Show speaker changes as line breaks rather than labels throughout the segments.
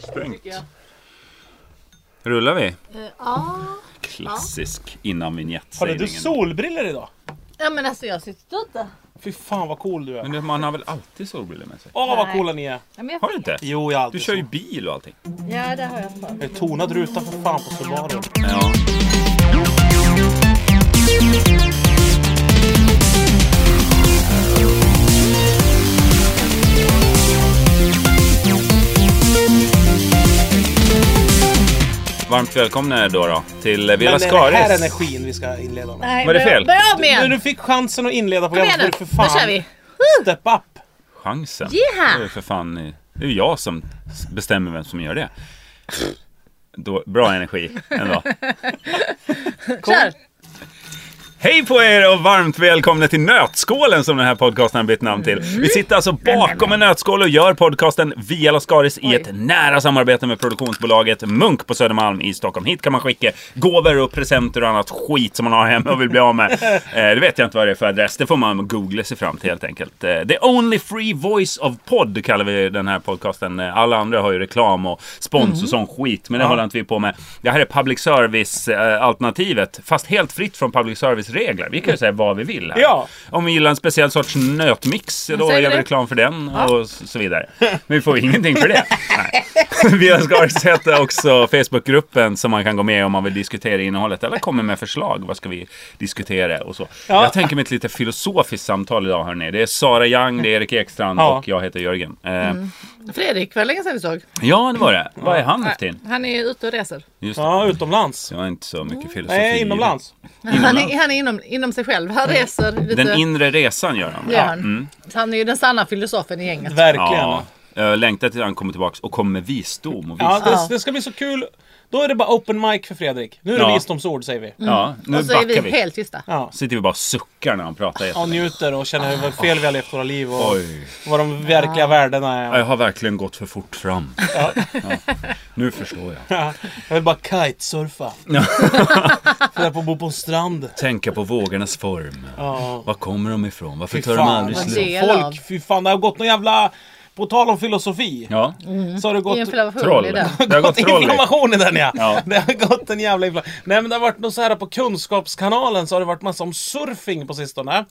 Stängt.
jag.
Rullar vi?
Eh, Ja.
Klassisk innan
Hörru, du
vinjettsägningen.
solbriller idag?
ja, men alltså jag sitter inte.
Fy fan vad cool du är.
Men det- man har väl alltid solbriller med sig?
Åh vad
Nej.
coola ni är.
Ja, men jag
Har du inte?
Jo, jag är
Du
alltid
kör ju
så.
bil och allting.
Ja, det har jag för.
Det är Tonad ruta för fan på Subaru.
Ja. Varmt välkomna då, då till eh, Vela
Men är det här
Skaris.
energin vi ska inleda med?
Nej,
Var det
börja-
fel?
Börja om
Nu
igen!
du fick chansen att inleda
Kom
programmet
igen
får
nu!
du för
Nu kör
fan
vi!
step up.
Chansen.
Yeah!
Det är för fan eh, det är ju jag som s- bestämmer vem som gör det. Då, bra energi ändå.
Kör!
Hej på er och varmt välkomna till Nötskålen som den här podcasten har bytt namn till. Vi sitter alltså bakom en nötskål och gör podcasten via Lascaris i ett nära samarbete med produktionsbolaget Munk på Södermalm i Stockholm. Hit kan man skicka gåvor och presenter och annat skit som man har hemma och vill bli av med. Eh, det vet jag inte vad det är för adress. Det får man googla sig fram till helt enkelt. Eh, the only free voice of pod kallar vi den här podcasten. Eh, Alla andra har ju reklam och spons och sån skit. Men det håller inte vi på med. Det här är public service-alternativet. Fast helt fritt från public service-regler. Vi kan ju säga vad vi vill här.
Ja.
Om vi gillar en speciell sorts nötmix, då
säger
gör vi
det.
reklam för den och s- så vidare. Men vi får ingenting för det. Nej. Via Skaris heter också Facebookgruppen som man kan gå med i om man vill diskutera innehållet eller komma med förslag. Vad ska vi diskutera och så.
Ja.
Jag tänker mig ett lite filosofiskt samtal idag hörni. Det är Sara Young, det är Erik Ekstrand
Ja.
och jag heter Jörgen. Eh,
Fredrik, var det länge sedan vi såg?
Ja, det var det. Vad är han nu för tiden?
Han är ute och reser.
Just det.
Ja, utomlands.
Jag har inte så mycket filosofi.
Nej, inomlands.
Han är, han är inom, inom sig själv. Han reser lite.
Den mm. inre resan gör han.
gör han. Så han är ju den sanna filosofen i gänget.
Verkligen.
Ja. Jag längtar till han kommer tillbaka och kommer med visdom och
Ja,
visdom.
det, det ska bli så kul. Då är det bara open mic för Fredrik. Nu är det
Ja.
visdomsord säger vi.
Mm.
Ja, nu
Och så är
backar vi.
vi helt tysta.
Ja.
Sitter vi bara och suckar när han pratar
Och
jättelänge.
njuter och känner hur fel vi har levt våra liv och
Oj.
vad de
Ah.
verkliga värdena är.
Jag har verkligen gått för fort fram.
Ja.
Nu förstår jag.
Ja, Jag vill bara kitesurfa. Fundera på att bo på en strand.
Tänka på vågornas form.
Ja.
Var kommer de ifrån? Varför
Fy
tar de aldrig
vad
slut?
det- Del av.
Folk, fy fan, det har gått någon jävla... På tal om filosofi.
Ja,
Så har det gått...
I Mm. en flation
troll.
i den.
Det har gått troll i.
Inflammation i den ja.
Ja.
Det har gått en jävla inflammation. Nej men det har varit något så här på Kunskapskanalen så har det varit massa om surfing på sistone.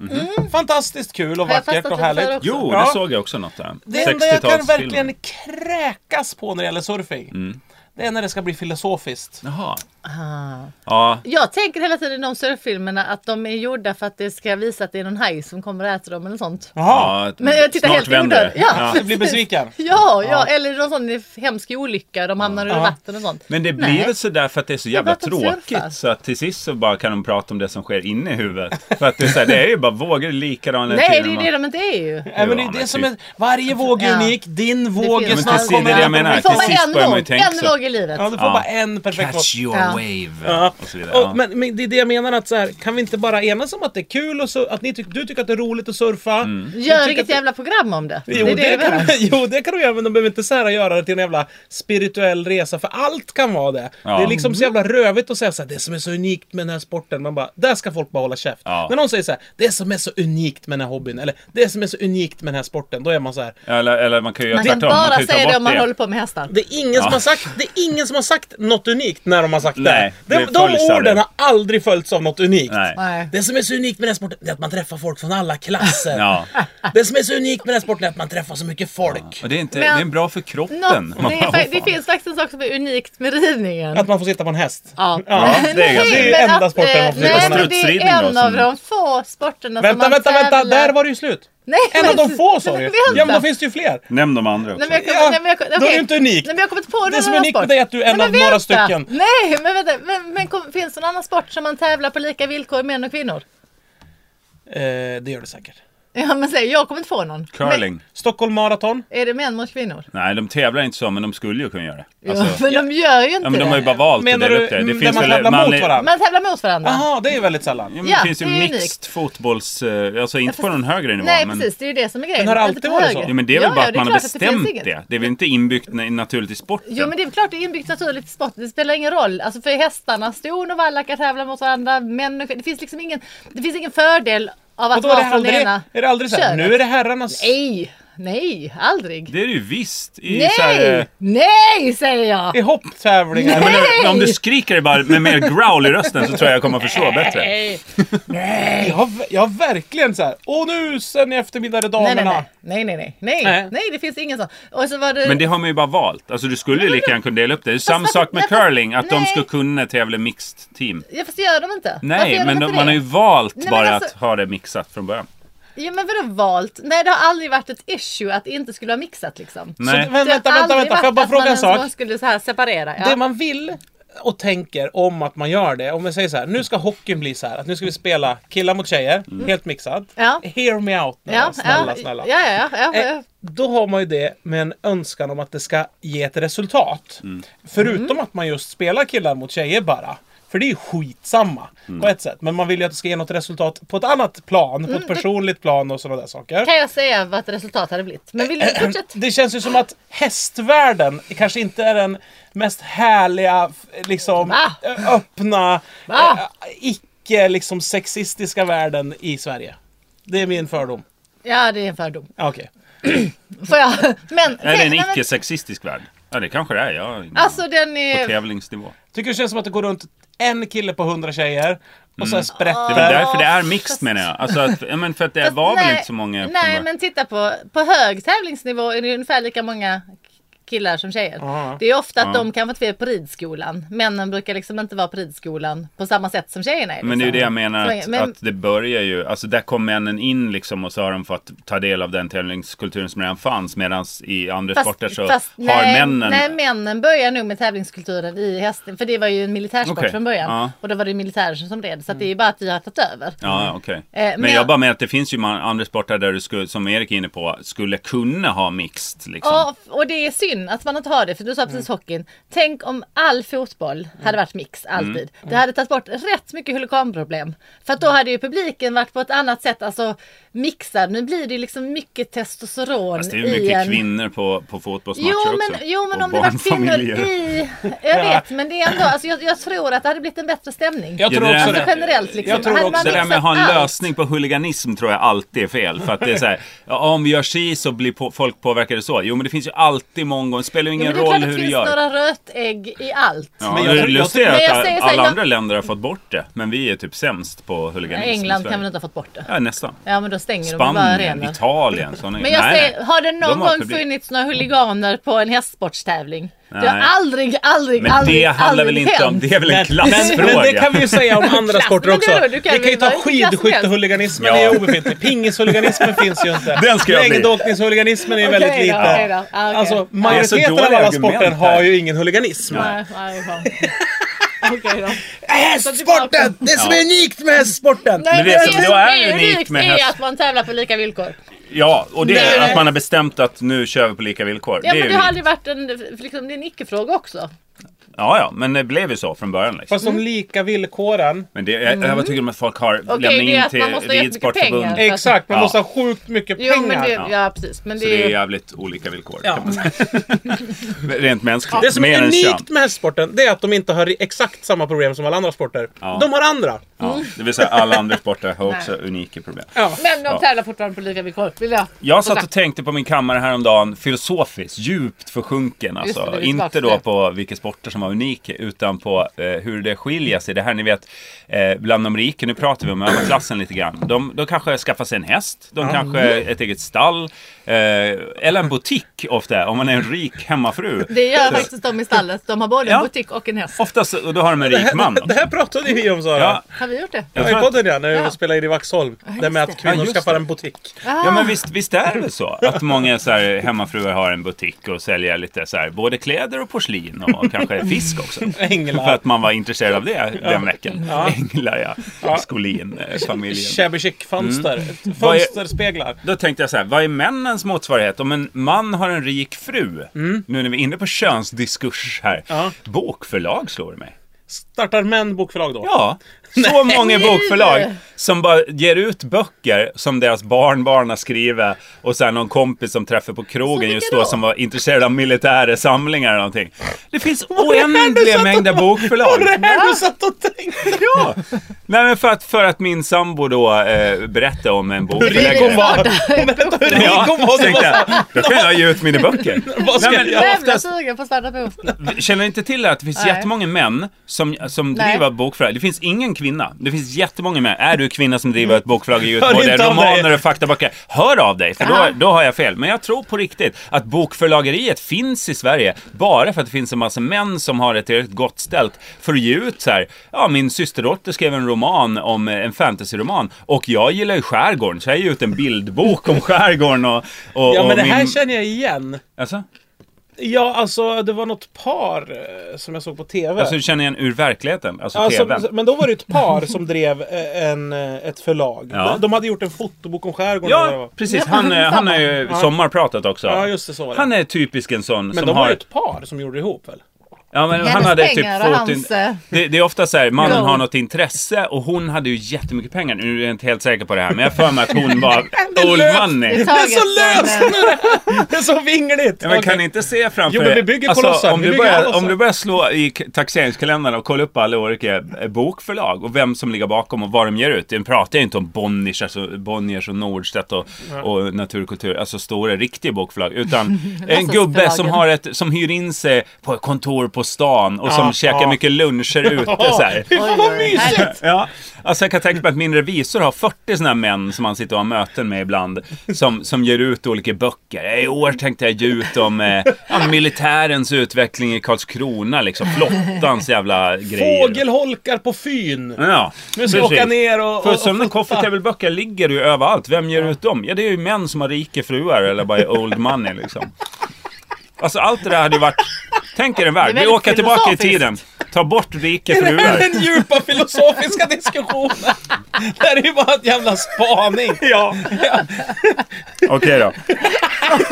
Fantastiskt kul och
Mhm. Har jag
vackert
fastnat
och
i det
härligt.
där också?
Jo,
Ja.
det såg jag också något där.
Det enda jag kan
60-talsfilmer.
verkligen kräkas på när det gäller surfing.
Mm.
Det är när det ska bli filosofiskt.
Jaha. Ja,
Ah. Jag tänker hela tiden om surffilmerna att de är gjorda för att det ska visa att det är någon haj som kommer och äter dem eller sånt.
Jaha.
ja.
Men jag tittar
snart
helt
vänder
inåt.
det.
Ja.
Jag blir besviken.
Ja, ja, eller någon sån hemsk olycka, de hamnar under vatten och sånt.
Men det blir
Nej.
väl sådär för att det är så jävla
pratar om surfar.
tråkigt så att till sist så bara kan de prata om det som sker inne i huvudet. För att det är, så här, det är ju bara vågor likadana
Nej, det är
tiden
ju
man-
det de inte är ju.
Nej, men det
Ja,
är det
men
som
typ.
är, varje våg är
Ja.
unik, din våg är
finns
snart
precis, det är
kommer
det
jag
att-
menar.
Vi får bara
Till sist
en
börjar man ju
våg,
tänka
en
så.
våg i livet.
Ja, du får
Ja.
bara en perfekt våg.
Catch your
Ja.
wave.
Ja.
Och så vidare.
Och,
ja.
men, men det är det jag menar, att så här, kan vi inte bara enas om att det är kul och så, att ni tyck, du tycker att det är roligt att surfa?
Gör
Mm.
tycker
inget
att det-
jävla program om det.
Jo
det
det,
är det vi
kan,
gör.
jo det kan du göra men de behöver inte så här göra det till en jävla spirituell resa för allt kan vara det.
Ja. Mm.
Det är liksom så jävla rövigt att säga så här, det som är så unikt med den här sporten. Man bara, där ska folk bara hålla käft.
Ja.
När någon säger så här, det som är så unikt med den här hobbyn eller det som är så unikt med den här sporten. Då är man så här,
Eller, eller man kan ju göra
Man kan
tvärtom. Man
bara
kan ju ta
säga
bort
det om man håller på med hästar.
Det är, ingen som har sagt, det är ingen som har sagt något unikt när de har sagt
Nej,
det. De,
det
de
följs
orden
aldrig.
har aldrig följts av något unikt.
Nej.
Nej.
Det som är så unikt med den här sporten det är att man träffar folk från alla klasser.
Ja.
Det som är så unikt med den här sporten är att man träffar så mycket folk.
Och det är, inte,
Men-
det är bra för kroppen.
Något,
Man
det,
bara,
är,
"Åh,
fa- det
fan."
finns faktiskt en sak som är unikt med ridningen.
Att man får sitta på en häst.
Ja.
Ja,
det är ganska-
det är
men
enda
att,
sporten
eh,
man får
nej,
göra.
men Det
Strutsridning
är
då,
en
som-
av de få sporterna som
Vänta,
man
vänta, vänta!
tävlar-
Där var det ju slut!
Nej,
En
men-
av de få sa
Nej,
du
men
Ja men då
vänta.
finns det ju fler!
Nämn de andra också.
Nej, men jag kommer,
Ja,
nej, men jag, kom-
då är
okej.
det inte unikt.
Nej, men jag har kommit på
Det som är
annan
unikt med
sport.
dig är att du är en
Men
av några
vänta.
stycken.
Nej, men vänta. Men, men kom, finns det någon annan sport som man tävlar på lika villkor män och kvinnor?
Eh, det gör det säkert.
Ja, men säg, jag kommer inte få någon.
Curling.
Stockholm Marathon.
Men, är det män mot kvinnor?
Nej, de tävlar inte så, men de skulle ju kunna göra det. Alltså,
ja, men de gör ju inte
ja, men de har ju
det.
bara valt att
Menar
dela
du
upp det. Det
mm, där man tävlar mot
manlig-
varandra?
Man tävlar mot varandra.
Jaha, det är väldigt sällan.
Ja, men
Ja,
det finns ju
det är ju
mixed fotbolls... eh, Alltså inte på någon högre nivå.
Nej,
men...
precis. Det är ju det som är grejen.
Men har det
Inte
alltid
på
varit
höger.
så?
Ja, men det är väl
Ja,
bara
ja,
att man har
klart att det finns
bestämt det,
inget.
det. är väl inte inbyggt na- naturligt i sporten?
Jo men det är väl klart det är inbyggt naturligt i sport. Det spelar ingen roll. Alltså för hästarna, ston och vallackar tävlar mot varandra. Män och kvin- det finns liksom ingen, det finns ingen fördel av
Och
att
då är det
vara från det
aldrig,
ena
är det aldrig så här,
könet.
nu är det herrarnas...
Nej! Nej, aldrig.
Det är det ju visst. I Så här, eh,
Nej! Nej, säger jag!
I hopptävlingar.
men om- om du skriker bara med mer growl i rösten så tror jag jag kommer förstå bättre.
Nej,
Jag, har- jag har verkligen så här. Och nu sen i eftermiddag är det
nej,
damerna.
nej, nej, nej, nej, nej,
Nej.
nej, det finns ingen sån. Och så var det...
Men det har man ju bara valt. Alltså du skulle ju lika gärna kunna dela upp det. Det är samma
varför-
sak med
varför-
curling, att de
nej.
ska kunna tävla mixed team.
Ja, fast det gör de inte. Varför
Nej,
gör
men
de
de-
inte
man
det?
har ju valt
men
bara
alltså-
att ha det mixat från början.
Jo, men vadå valt? Nej, det har aldrig varit ett issue att det inte skulle vara mixat liksom.
Så,
Nej.
vänta, vänta, vänta, vänta. Får jag bara fråga en sak?
Man skulle så här separera. Ja.
Det man vill och tänker om att man gör det. Om vi säger så här, nu ska hockeyn bli så här. Att nu ska vi spela killar mot tjejer, helt mixat.
Ja.
Hear me out nu
ja,
då, snälla,
ja,
snälla.
Ja, ja, ja. ja,
Eh,
ja.
Då har man ju det med en önskan om att det ska ge ett resultat. Förutom
Mm.
att man just spelar killar mot tjejer bara. För det är ju skitsamma på ett sätt. Men man vill ju att det ska ge något resultat på ett annat plan. På
Mm.
ett personligt plan och sådana där saker.
Kan jag säga vad ett resultat hade blivit? Men vill du fortsätta?
Det känns ju som att hästvärlden kanske inte är den mest härliga, f- liksom
Va?
ö- öppna,
Va?
eh, icke liksom sexistiska världen i Sverige. Det är min fördom.
Ja, det är en fördom.
Ja, Okej.
Får jag? Men,
Är det en
nej, men-
icke-sexistisk värld? Ja, det kanske det är. Jag har ingen
Alltså den
på
är...
tävlingsnivå.
Tycker det känns som att det går runt en kille på hundra tjejer och sen
Mm. Det är väl
sprätter.
därför det är mixed menar jag. Alltså att, ja, men för att det
Fast
var väl
nej,
inte så många från
Nej
början.
men titta på, på hög tävlingsnivå är det ungefär lika många killar som tjejer.
Ja.
Det är ofta att
Ja.
de kan vara två på ridskolan. Männen brukar liksom inte vara på ridskolan på samma sätt som tjejerna är. Liksom.
Men det är ju det jag menar,
Så-
att,
men-
att det börjar ju, alltså där kom männen in liksom och så har de fått ta del av den tävlingskulturen som redan fanns medan i andra sporter så
fast-
har
nej,
männen...
Nej, männen börjar nog med tävlingskulturen i hästen. För det var ju en militärsport
Okej,
från början.
ja.
Och då var det ju militärer som red. Så att det är ju bara att vi har tagit över.
Ja, okej.
Eh,
men,
men-
jag bara menar att det finns ju man- andra sporter där du skulle, som Erik är inne på, skulle kunna ha mixed liksom. Mm.
Ja, och det är synd att man inte har det. För du sa precis hockeyn. Tänk om all fotboll hade varit mix alltid.
Mm.
Det hade tagit bort rätt mycket huliganproblem. För att då hade ju publiken varit på ett annat sätt alltså mixad. Nu blir det ju liksom mycket testosteron
Fast det är ju
i
mycket
en...
kvinnor på, på fotbollsmatcher
Jo men,
också.
jo men
Och
om det var kvinnor
barnfamiljer.
i... Jag vet men det är ändå, alltså, jag, jag tror att det hade blivit en bättre stämning.
Jag tror
Ja, det
också
där-
det.
Alltså generellt liksom.
Jag tror
Hade
också
man
Det där med att
mixat
ha en
allt-
lösning på huliganism tror jag alltid är fel. För att det är så här, ja, om vi gör si så blir på, folk påverkade så. Jo men det finns ju alltid många gånger, det spelar ju
Jo,
ingen
men det
roll
är klart att
hur
det
du
finns
gör.
några rötägg i allt.
Ja,
Men
men
jag-
jag,
jag-
det lustiga
men
är
jag
att
säger så här,
alla
jag-
andra länder har fått bort det. Men vi är typ sämst på huliganism i
England
liksom Sverige.
kan väl inte ha fått bort det?
Ja, nästan.
Ja men då stänger de bara
Spanien,
arenan.
Italien, sådana
Men jag
Nej,
säger,
nej.
har det någon
De har
gång
publik.
funnits några huliganer på en hästsportstävling? Det har
Nej.
aldrig, aldrig,
Men
aldrig,
det handlar
aldrig
väl inte om,
hänt.
det är väl en
men,
klassfråga?
men det kan vi ju säga om andra
Klass,
sporter
men
också.
vadå, du kan
vi kan ju
väl
ta
vara vilken klass som
skidskyttehuliganismen,
helst.
det är
Ja.
obefintlig. Pingishuliganismen finns ju inte.
Den ska jag bli.
Längdåkningshuliganismen är ju väldigt
Okej då,
liten.
okej då. Ah, okej.
Alltså,
Det
är så
majoriteten av
dåliga
alla
argument
sporter
här.
har ju ingen huliganism.
Nej, nej, fan. Okej då.
Hästsporten! Det som är unikt med Mm. hästsporten!
Nej,
det som då är unikt med
är
häst-
att man tävlar på lika villkor.
Ja, och det
Nej,
är
nej.
att man har bestämt att nu kör vi på lika villkor.
Ja,
det är
men
ju
det har
unikt.
aldrig varit en, liksom, det är en icke-fråga också.
Ja, ja, men det blev ju så från början. Liksom.
Fast de lika villkoren.
Men det, jag, jag bara tycker om att folk har lämnat
det är
in
att man måste
till
ha jättemycket
Ridsportförbundet.
pengar.
Exakt, man
Ja.
måste ha sjukt mycket
Mm. Jo, men
pengar.
det,
Det,
ja. precis. Men det,
Så det
är
är
ju...
jävligt olika villkor.
Eh. Ja.
kan man säga. Rent mänskligt.
som
Mer
är
än kön.
unikt med hästsporten, det är att de inte har exakt samma problem som alla andra sporter.
Ja.
De har andra.
Ja, det vill säga alla andra sporter har också unika problem.
Ja.
Men de
Ja.
tävlar fortfarande på lika villkor. Vill jag?
Jag satt och tänkte på min kammare häromdagen, filosofiskt, djupt försjunken.
Just det, det
Alltså.
är
Inte
tillbaka
då
till.
på vilka sporter som var unika, utan på eh, hur det skiljer sig. Det här ni vet, eh, bland de rika, nu pratar vi om överklassen lite grann. De, de kanske skaffar sig en häst, de kanske ett eget stall, eh, eller en butik ofta, om man är en rik hemmafru.
Det gör faktiskt de i stallet. De har både en
Ja.
butik och en häst.
Oftast, och då har de en rik man.
Det här pratade vi om Sara.
Ja,
Har vi gjort det?
Ja,
jag
I
tror att-
podden ja, när vi
Ja.
spelade in i Vaxholm. det med
det.
att kvinnor
Ja, just
skaffar
det.
en butik.
Ja men visst, visst är det väl så? Att många så här, hemmafruar har en butik och säljer lite så här, både kläder och porslin och kanske fisk också.
Änglar.
För att man var intresserad av det den veckan.
Ja.
Änglar ja, Skolin, eh, familjen.
Shabby chic-fönster.
Mm. Vad är-
Fönsterspeglar.
Då tänkte jag så här, vad är männens motsvarighet? Om en man har en rik fru, nu när vi är inne på könsdiskurs här,
Ja.
bokförlag slår det mig.
Startar män bokförlag då?
Ja, så många
Nej.
bokförlag som bara ger ut böcker som deras barnbarn har skrivit och sen någon kompis som träffar på krogen
vilka
just
då?
då som var intresserad av militära samlingar eller någonting. Det finns oändliga mängder bokförlag.
Var det här du satt och tänkte?
Ja, Nej men för att, för att min sambo då eh, berättade om en bok.
rik hon var. Hon berättade hur rik
Ja,
hon var. så
tänkte
bara-
jag, då kan jag ge ut mina böcker.
Vad ska
Nej,
jag
men
göra?
Jävla
oftast,
sugen på svarta boken.
känner ni inte till att det finns
Nej.
jättemånga män som, som
Nej.
driver bokförlag? Det finns ingen kvinna. Det finns jätmånga män. Är du kvinna som driver ett bokförlag och ger ut
Mm. Hör
både
inte av dig.
romaner och faktaböcker, hör av dig. För då,
Aha.
då har jag fel. Men jag tror på riktigt att bokförlageriet finns i Sverige bara för att det finns en massa män som har det tillräckligt gott ställt för att ge ut så här. Ja, min systerdotter skrev en roman om eh, en fantasyroman och jag gillar ju skärgården så jag ger ut en bildbok om skärgården och, och,
Ja
och
men det här
min...
känner jag igen.
Alltså?
Ja alltså det var något par eh, som jag såg på TV.
Alltså du känner igen ur verkligheten, alltså
Ja,
tvn.
som, men då var det ett par som drev eh, en, eh, ett förlag.
Ja.
De, de hade gjort en fotobok om skärgården. eller vad det
Ja,
var.
precis. Han, eh, han har ju sommarpratat också.
Ja, just det, så var det.
Han är typisk en sån
Men
som
de
har...
var ett par som gjorde ihop väl?
Ja, men han
Hennes
hade typ
pengar
fått
och hans,
in...
eh,
det, det är ofta så här, mannen
Go.
har något intresse och hon hade ju jättemycket pengar. Nu är jag inte helt säker på det här, men jag har för mig att hon var old
löst.
money.
är
Det är så
taget från,
löst nu! Det är så vingligt!
Ja, men
Okej.
kan ni inte se framför
Jo, men
er-
vi
Alltså,
bygger kolosser.
om,
Vi
du
bygger
börjar,
kolosser.
om du börjar slå i k- taxeringskalendern och kolla upp alla olika eh, bokförlag och vem som ligger bakom och vad de ger ut. Nu pratar jag inte om Bonniers, alltså Bonniers och Nordstedt och, och Naturkultur, alltså stora riktiga bokförlag. Utan
Alltså,
en gubbe som, har ett, som hyr in sig på ett kontor på stan och som
Ja,
käkar
ja.
mycket luncher ute
Ja,
så här.
Fy fan vad mysigt!
Ja, alltså jag kan tänka mig att min revisor har 40 sådana här män som han sitter och har möten med ibland. Som, som ger ut olika böcker. I år tänkte jag ge ut om eh, ja, militärens utveckling i Karlskrona, liksom. Flottans jävla grejer.
Fågelholkar på Fyn!
Ja,
Nu ska jag åka ner och-
För
och-
sömnen
och fota.
coffee-table-böcker ligger ju överallt. Vem ger ut dem? Ja, det är ju män som har rika fruar eller bara är old money liksom. Alltså allt det där hade ju varit... Tänk er en
Det
värld.
är
Vi
väldigt
åker tillbaka i
filosofiskt.
tiden. Ta bort rika
Det
fruar.
här är den djupa filosofiska diskussionen! Det här är ju bara ett jävla spaning!
Ja. Okej då.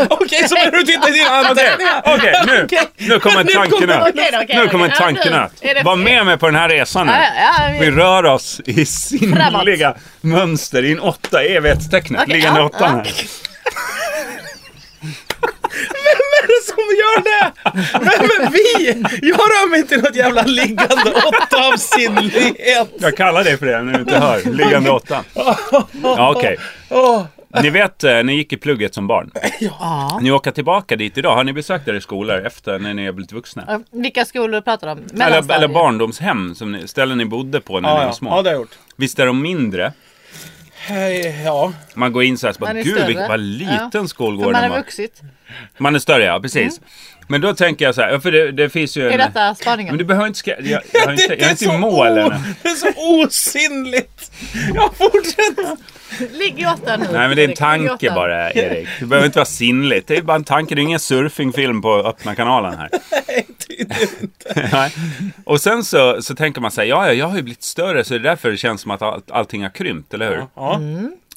Okej, så börjar du titta i dina
Okej,
anteckningar!
okej, nu,
Okej.
nu kommer en
Nu kommer-
tankenöt.
okej då, okej
Nu
då,
kommer en
okej. Ja, nu
tankenöt.
är det-
Var med mig på den här resan nu.
Ja, ja, ja,
Vi
vi-
rör oss i sinnliga mönster i en åtta i evighetstecknet.
Okej,
Liggande
ja,
åttan här.
Vem är det som gör det? Vem är vi? Jag rör mig inte i något jävla liggande åtta av sinnlighet.
Jag kallar dig för det när du inte hör. Liggande åttan. Ja, okej.
Åh,
Ni vet, eh, ni gick i plugget som barn.
Ja.
Ni åker tillbaka dit idag. Har ni besökt era skolor efter när ni har blivit vuxna?
Eh, Vilka skolor pratar du om?
Eller,
Mellanstadiet.
eller barndomshem, som ni, ställen ni bodde på när ni var
ja, ja.
små.
ja, det har jag gjort.
Visst är de mindre?
Eh, Ja,
Man går in så här, så bara,
Man är
gud
större."
vilken, vad liten
Ja. För
skolgården
man har
var.
vuxit.
Man är större,
Mm.
ja precis. Men då tänker jag så här, för det, det finns ju en...
Är detta
Men
spaningen?
du behöver inte skriva... Jag, jag, har inte,
det,
jag är
är
inte i
så
mål
o,
ännu.
det är så osinnligt. Jag fortsätter.
Ligg i åtta nu.
Nej men det är en
Erik. Ligg i
tanke
åtta.
bara, Erik. Det behöver inte vara sinnligt. Det är bara en tanke. Det är ingen surfingfilm på öppna kanalen här.
Nej, tydligen inte.
Nej. Och sen så, så tänker man så här, ja, ja, jag har ju blivit större så det är därför det känns som att all, allting har krympt, eller hur?
Ja.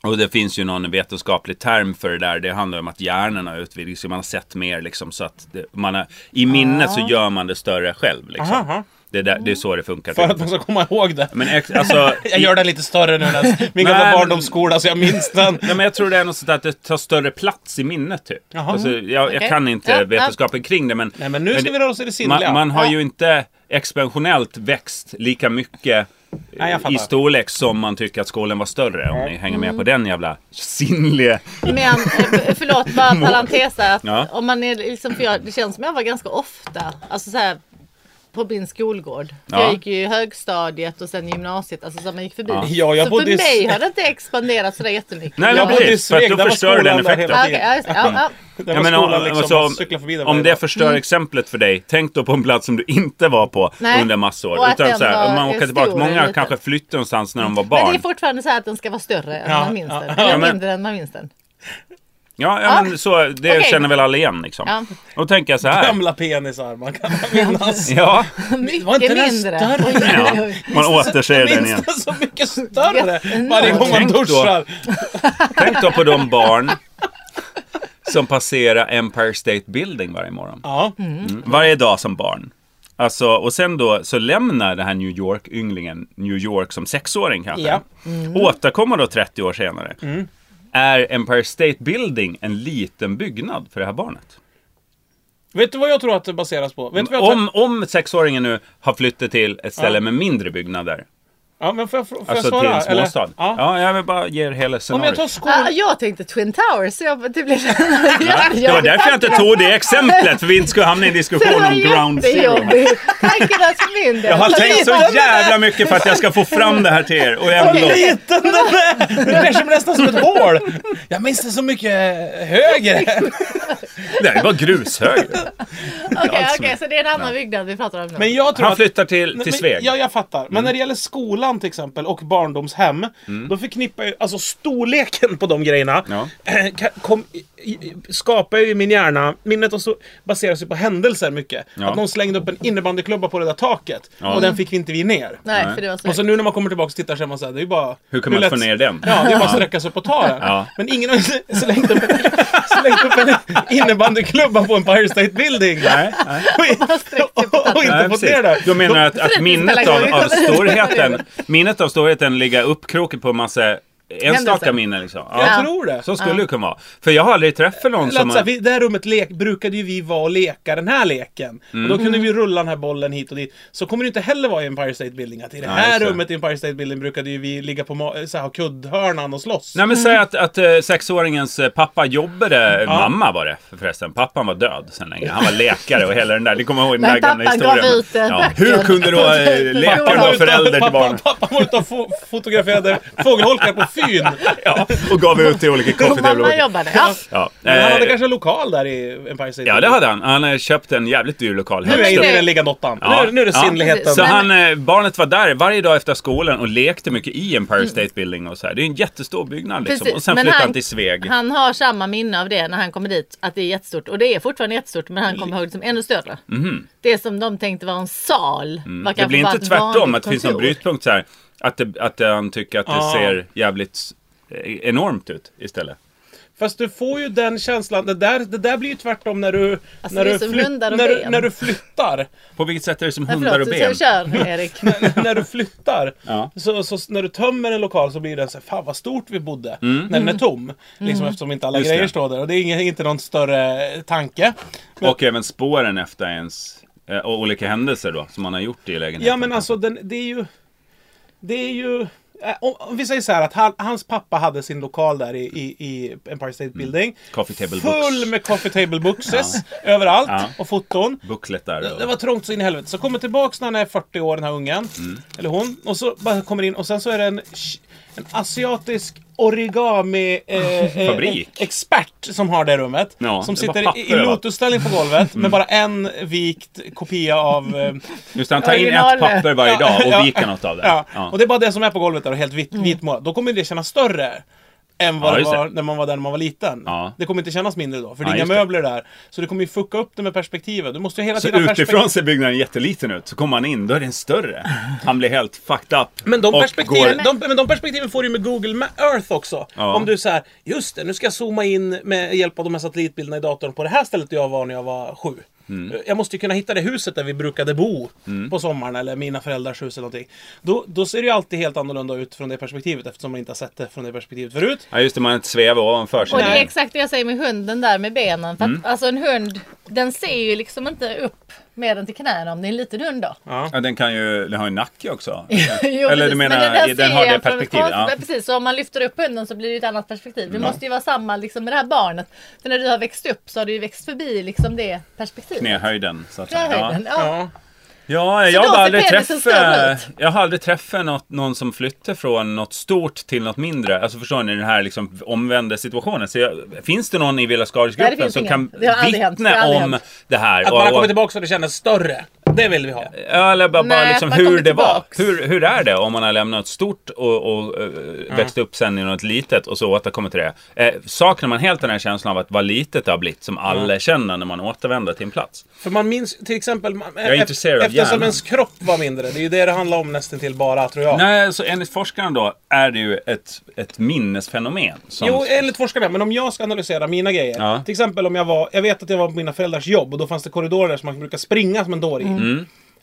Och det finns ju någon vetenskaplig term för det där. Det handlar om att hjärnan har utvidgats. Man har sett mer liksom. Så att det, man har, I minnet så gör man det större själv. Liksom.
Aha.
Det, är där, det är så det funkar. typ.
För att man ska komma ihåg det.
Men ex, alltså,
Jag gör den lite större nu när min gamla
Nej, men-
barndomsskola så jag minns den.
Ja, men jag tror det är något sånt där att det tar större plats i minnet typ.
Jaha.
Alltså, jag, jag
Okej.
kan inte
Ja, ja.
vetenskapen kring det men...
Nej men nu ska
det-
vi röra oss i det sinnliga.
man, man har
Ja.
ju inte expansionellt växt lika mycket
Nej, jag
eh, i
fattar.
storlek som man tycker att skålen var större. Om ni hänger
Mm.
med på den jävla sinnliga...
Men eh, förlåt, bara en parentes här. Att
Ja.
Om man är liksom, för jag, det känns som jag var ganska ofta, alltså så här, på min skolgård. För
Ja.
Jag gick ju i högstadiet och sen gymnasiet, alltså så man gick förbi.
Ja, jag
så
bodde i-
för mig har det inte expanderat sådär jättemycket.
Nej,
Jag
men
bodde i
precis. För att
Sveg,
då
där var
förstör den
skolan där
effekten.
hela
Ja, okej, ja, just det. ja, ja.
Där
Ja,
var
men
skolan
om-
liksom,
alltså,
man cyklade förbi
om
den varje
det
dag.
förstör
Mm.
exemplet för dig, tänk då på en plats som du inte var på
Nej.
under massor.
Och att
Utan
den
så här,
var
om man åker tillbaka,
stor
många
eller liten.
kanske flyttade någonstans när de var
Men det
barn.
är fortfarande så här att den ska vara större än
Ja,
man minns
ja,
den.
ja.
Eller
Ja, men-
mindre än man minns den.
Ja, ja,
Ja.
men så, det
Okej.
känner väl alla igen liksom.
Ja.
Då tänker jag så här.
Gamla penisar man kan minnas.
Ja,
Mycket
var inte den
mindre.
större?
Oj, oj,
ja.
oj.
man återser den igen.
Minns den så mycket större
Jätteenorm.
varje gång man
Tänk då.
duschar.
Tänk då på de barn som passerar Empire State Building varje morgon. Mm.
Ja.
Mm.
Varje dag som barn. Alltså, och sen då så lämnar den här New York-ynglingen New York som sexåring kanske.
Ja.
Mm.
Mm.
Återkommer då 30 år senare. Är Empire State Building en liten byggnad för det här barnet?
Vet du vad jag tror att det baseras på? Vet du vad jag tror?
Om, om sexåringen nu har flyttat till ett ställe
Ja.
med mindre byggnader.
Ja, men får jag, får jag
Alltså
svara?
till en
eller?
småstad.
Ja.
Ja, jag vill bara ge er hela
Om jag
scenariot.
tar skol...
Ah, jag tänkte Twin Towers. Så jag, det, blev... ja,
Det var därför jag inte tog det exemplet, för vi inte skulle hamna i en diskussion om ground zero.
Tanken att för min del.
Jag har
Så
tänkt så
lite-
jävla mycket för att jag ska få fram det här till er. Och ändå.
Okej.
Liten den är! Den är som nästan som ett hål! Jag minns det så mycket högre!
Det här var grushög.
Okej,
alls
okej, så det är en annan byggnad vi pratar om nu.
Men jag tror
Han
att...
flyttar till,
Nej,
till
men-
Sveg. Mm.
Ja, jag fattar. Men när det gäller skolan till exempel och barndomshem. Då förknippar ju, alltså storleken på de grejerna.
Ja.
ka- Kom, i- i- skapar ju i min hjärna, minnet och så baseras ju på händelser mycket.
Ja.
Att någon slängde upp en innebandyklubba på det där taket.
Ja.
Och den fick vi inte vi ner.
Nej,
Nej.
för det var så.
Och så nu när man kommer tillbaka och tittar så är man såhär, det är ju bara...
Hur kan man
lätt-
få ner den?
Ja, det är bara att sträcka sig upp och ta den.
Ja.
Men ingen har ju slängt upp, slängt upp en innebandyklubba på Empire State Building.
Nej, nej.
Och, och inte
Nej,
fått
precis.
ner det.
Då menar jag att,
För
att
det
minnet
spelar
av,
ingen
av
roll.
storheten, minnet av storheten ligger uppkroket på en massa enstaka
Händelser.
minnen liksom.
Jag
Ja.
tror det.
Så skulle det kunna vara. För jag har aldrig träffat någon
Lät
som...
så här,
Har...
vi, det här rummet lek, brukade ju vi vara och leka den här leken.
Mm.
Och då kunde vi rulla den här bollen hit och dit. Så kommer det inte heller vara i Empire State Building. Att I det
Nej,
här
just det.
rummet i Empire State Building brukade ju vi ligga på ma- så här, ha kuddhörnan och slåss.
Nej
Mm.
men säg att, att eh, sexåringens eh, pappa jobbade, mamma var det förresten, pappan var död sen länge. Han var läkare och hela den där, ni kommer ihåg den
Men
där gamla
pappan gav
historien.
ut den böcker.
Hur kunde då eh, läkaren
Pappan
vara
var ute och-
förälder till
pappa-
barnen?
Pappa var ute och fo- fotograferade fågelholkar på Fyn.
Ja, och gav ut till olika
Och mamma
coffee
jobbade. Ja.
Ja,
Men han hade
eh,
kanske en lokal där i Empire State
ja, det
Building.
hade han. Han hade köpt en jävligt dyr lokal.
Nu
högst
är jag
upp.
inne i
Nej.
den ligganottan.
Ja,
Nu, nu är det
ja.
sinnligheten.
Så
Nej,
han, eh, barnet var där varje dag efter skolan och lekte mycket i Empire State Building och så här. Det är en jättestor byggnad liksom.
Mm. Precis,
Och sen
men
flyttade han
han-
till Sveg.
Han har samma minne av det när han kommer dit, att det är jättestort. Och det är fortfarande jättestort, men han kommer ihåg det som ännu större. Det som de tänkte var en sal. var
Mhm. Mm. Det
kanske
blir
bara
inte
ett
tvärtom,
vanligt
att det finns någon
kontor.
brytpunkt så här. Att, det, att han tycker att det
Ja.
ser jävligt eh, enormt ut istället.
Fast du får ju den känslan. Det där, det där blir ju tvärtom när du,
Alltså,
när
det är
du,
som
flyt-
hundar och
när du,
ben.
när du flyttar.
På vilket sätt är det som
Nej,
hundar och
förlåt, så-
ben?
så kör Erik.
när du flyttar,
Ja.
så, så s- när du tömmer en lokal så blir den så här, fan vad stort vi bodde. När den är tom. Liksom eftersom inte alla
Mm. Just
grejer
det.
står där. Och det är ingen, inte någon större eh, tanke. Men,
Och även spåren efter ens eh, och olika händelser då, som man har gjort i lägenheten.
ja men alltså, den, det är ju... Det är ju... eh, Om, om vi säger så här att han, hans pappa hade sin lokal där i, i, i Empire State Building.
Mm. Coffee table
Full
books.
med coffee table bookses överallt.
Ja.
Och foton.
Booklet där.
Det
Och...
var trångt så in i helvete. Så kommer tillbaks när han är 40 år, den här ungen.
Mm.
Eller hon. Och så bara kommer in och sen så är det en, sh- en asiatisk origami eh, eh,
Fabrik.
expert som har det rummet.
Ja,
som
det är bara
sitter i, i
papper överallt. Mm.
lotusställning på golvet med bara en vikt kopia av... Eh,
Just det, han tar in ett
Original.
papper varje dag
Ja.
och viker något av det.
ja.
Ja.
Och det är bara det som är på golvet där och helt vit, vitmålat. Då kommer det kännas större. Än
Ja,
vad
just
det
det.
var när man var där när man var liten.
Ja.
Det kommer inte kännas mindre då, för det
Ja,
är inga
just det.
möbler där. Så det kommer ju fucka upp det med perspektivet. Du måste ju hela
Så
tiden ha
utifrån ser byggnaden jätteliten ut, så kommer han in, då är den större. Han blir helt fucked up.
Men de,
och
perspektiven,
går-
de, men de perspektiven får du ju med Google Ma- Earth också.
Ja.
Om du säger just det, nu ska jag zooma in med hjälp av de här satellitbilderna i datorn på det här stället jag var när jag var sju.
Mm.
Jag måste ju kunna hitta det huset där vi brukade bo på sommaren eller mina föräldrars hus eller någonting. Då, då ser det ju alltid helt annorlunda ut från det perspektivet eftersom man inte har sett det från det perspektivet förut.
Ja just det, man svävar ovanför sig.
Och det är
Nej. Mm.
exakt det jag säger med hunden där med benen. För att, Alltså en hund, den ser ju liksom inte upp med den till knäna om det är en liten hund då.
Ja, den kan ju, den har ju nacke också.
Jo,
Eller du
precis.
menar,
Men
den,
där
har
ser
det
jag från ett
perspektivet.
konstigt-
Ja. Mm.
Precis, så om man lyfter upp hunden så blir det ju ett annat perspektiv. Det måste ju vara samma liksom, med det här barnet. För när du har växt upp så har du ju växt förbi liksom, det perspektivet.
Knähöjden. Så att säga.
Knähöjden,
Ja.
ja.
Ja,
Så
jag
då
har,
ser
aldrig
penisen
träffat,
större
jag har aldrig träffat något, någon som flyttar från något stort till något mindre. Alltså förstår ni den här liksom omvända situationen? Så jag, finns det någon i Villa
Nej, det
Skaris-gruppen
finns
som
ingen.
kan
Det har aldrig hänt. Det har
vittna
aldrig
om
hänt.
det här?
Att
Och-
man har
och-
kommit tillbaka så det kändes större. Det vill vi ha.
Ja, eller bara, bara
Nej,
liksom
att man
hur
kommer
det var.
tillbaks.
Hur, hur är det om man har lämnat stort och, och eh, växt upp sen i något litet och så återkommer till det? Eh, saknar man helt den här känslan av att vad litet det har blivit som alla känner när man återvänder till en plats?
För man minns till exempel... Man,
är intresserad av
Eftersom
hjärnan.
ens kropp var mindre. Det är ju det det handlar om nästan till bara, tror jag.
Nej, så enligt forskarna då är det ju ett, ett minnesfenomen. Som,
Jo, enligt forskarna. Men om jag ska analysera mina grejer.
Ja. Mm.
Till exempel om jag var... Jag vet att jag var på mina föräldrars jobb och då fanns det korridorer som man brukar springa som en dåre i.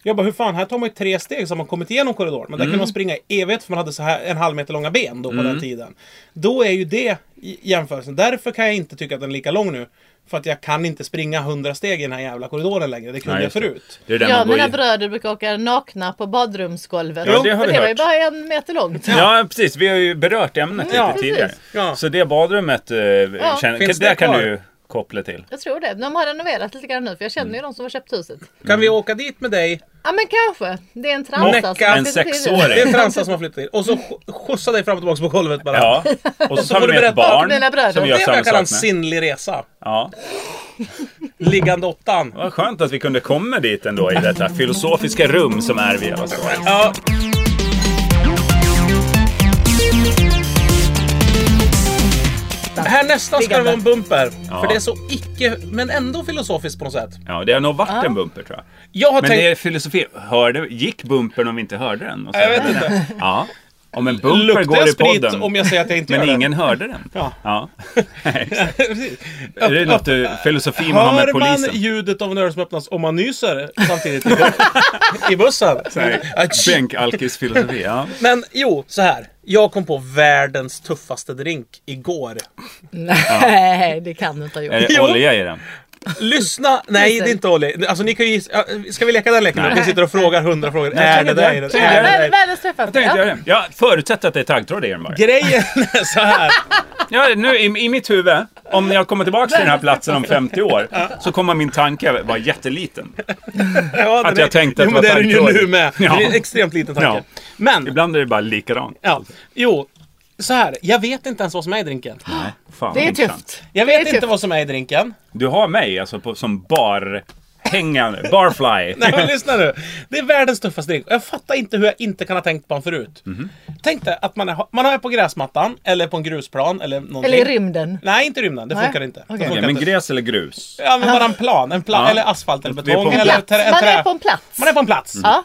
Jag bara, hur fan, här tar man ju tre steg så har man kommit igenom korridoren. Men där
Mm.
kunde man springa i evighet för man hade så här en halv meter långa ben då på den tiden. Då är ju det i jämförelsen. Därför kan jag inte tycka att den är lika lång nu. För att jag kan inte springa hundra steg i den här jävla korridoren längre. Det kunde
Nej,
jag
just det.
förut.
Det är där
Jag
man
och
går
mina
i.
bröder brukar åka nakna på badrumsgolvet.
Ja, det har
Men
vi
det var ju
hört.
bara en meter långt.
Ja, precis. Vi har ju berört ämnet lite
Ja, precis.
tidigare.
Ja.
Så det badrummet, eh, känner,
Finns
det
det
kan
kvar?
du ju koppla till.
Jag tror det. De har renoverat lite grann nu för jag
Mm.
känner ju de som har köpt huset.
Kan vi åka dit med dig?
Ja men kanske. Det är en alltså. transa
Mecka.
har
En
flyttat till
sexåring.
Det är Transa som har flyttat hit. Och så sk- skjutsa dig fram och tillbaka på golvet bara.
Ja. Och så tar vi
får du
med ett
berätta
om mina bröder.
barn som
Det
Det
gör
är vad
samma
jag kallar en
sak med.
sinnlig resa.
Ja.
Liggande åttan.
Vad skönt att vi kunde komma dit ändå i detta filosofiska rum som är Via Skål.
Ja, här nästan ska det vara en bumper. För det är så icke, men ändå filosofiskt på något sätt.
Ja, det har nog varit en bumper tror jag.
Jag har
Men
tänkt...
det är filosofi. Hörde, gick bumpern om vi inte hörde den? Och så-
Jag vet inte.
Ja. Om en bumper
Luktar
går
jag
i
sprit
podden.
om jag säger att jag inte
Men
gör
ingen hörde den.
Ja.
Nej, exakt.
det? Precis.
Är det något du, filosofi man har med
Hör man
polisen?
ljudet av en dörr som öppnas om man nyser samtidigt i bu- i bussen?
Nej,
Atsch.
Bänkalkis-filosofi, ja.
Men jo, så här. Jag kom på världens tuffaste drink igår.
Nej, det kan du inte ha
Är
gjort.
det
Jo.
olja i den?
Lyssna! Nej, det är inte Olli. Alltså, ni kan ju gissa. Ska vi leka den leken?
Nej.
Vi sitter och frågar hundra frågor. är det
tänk
där?
det.
Är det
Tänk
där?
det.
Är det
Väl-
där?
Världens träffat.
Tänkte
Ja.
jag det. Jag förutsätter att det är taggtråd i den bara.
Grejen är så här.
Ja, nu i, i mitt huvud, om jag kommer tillbaka till den här platsen om 50 år, så kommer min tanke vara jätteliten.
Ja,
Att
den
jag
är-
tänkte att
jo, men
det
det
var
är den ju
taggtråd.
nu med.
Ja.
Det är en extremt liten tanke.
Ja.
Men,
Ibland är det bara likadant.
ja. Jo. Så här. Jag vet inte ens vad som är i drinken.
Nej, fan,
Det är
vad intressant.
tufft.
Jag
Det är
vet inte
tufft.
vad som är i drinken.
Du har mig alltså på, som barhängande, barfly.
Nej men lyssna nu. Det är världens tuffaste drink. Jag fattar inte hur jag inte kan ha tänkt på den förut.
Mhm.
Tänk dig att man är, man är på gräsmattan eller på en grusplan eller någonting.
Eller i rymden.
Nej, inte i rymden. Det
Nej.
funkar inte. Det
Okej.
funkar
Ja, men
inte.
gräs eller grus?
Ja, men bara en plan. En plan
Ja.
Eller asfalt eller
Vi är på en
betong.
Mm.
Eller
Plats.
trä,
Man
trä.
är på en plats.
Man är på en plats.
Ja,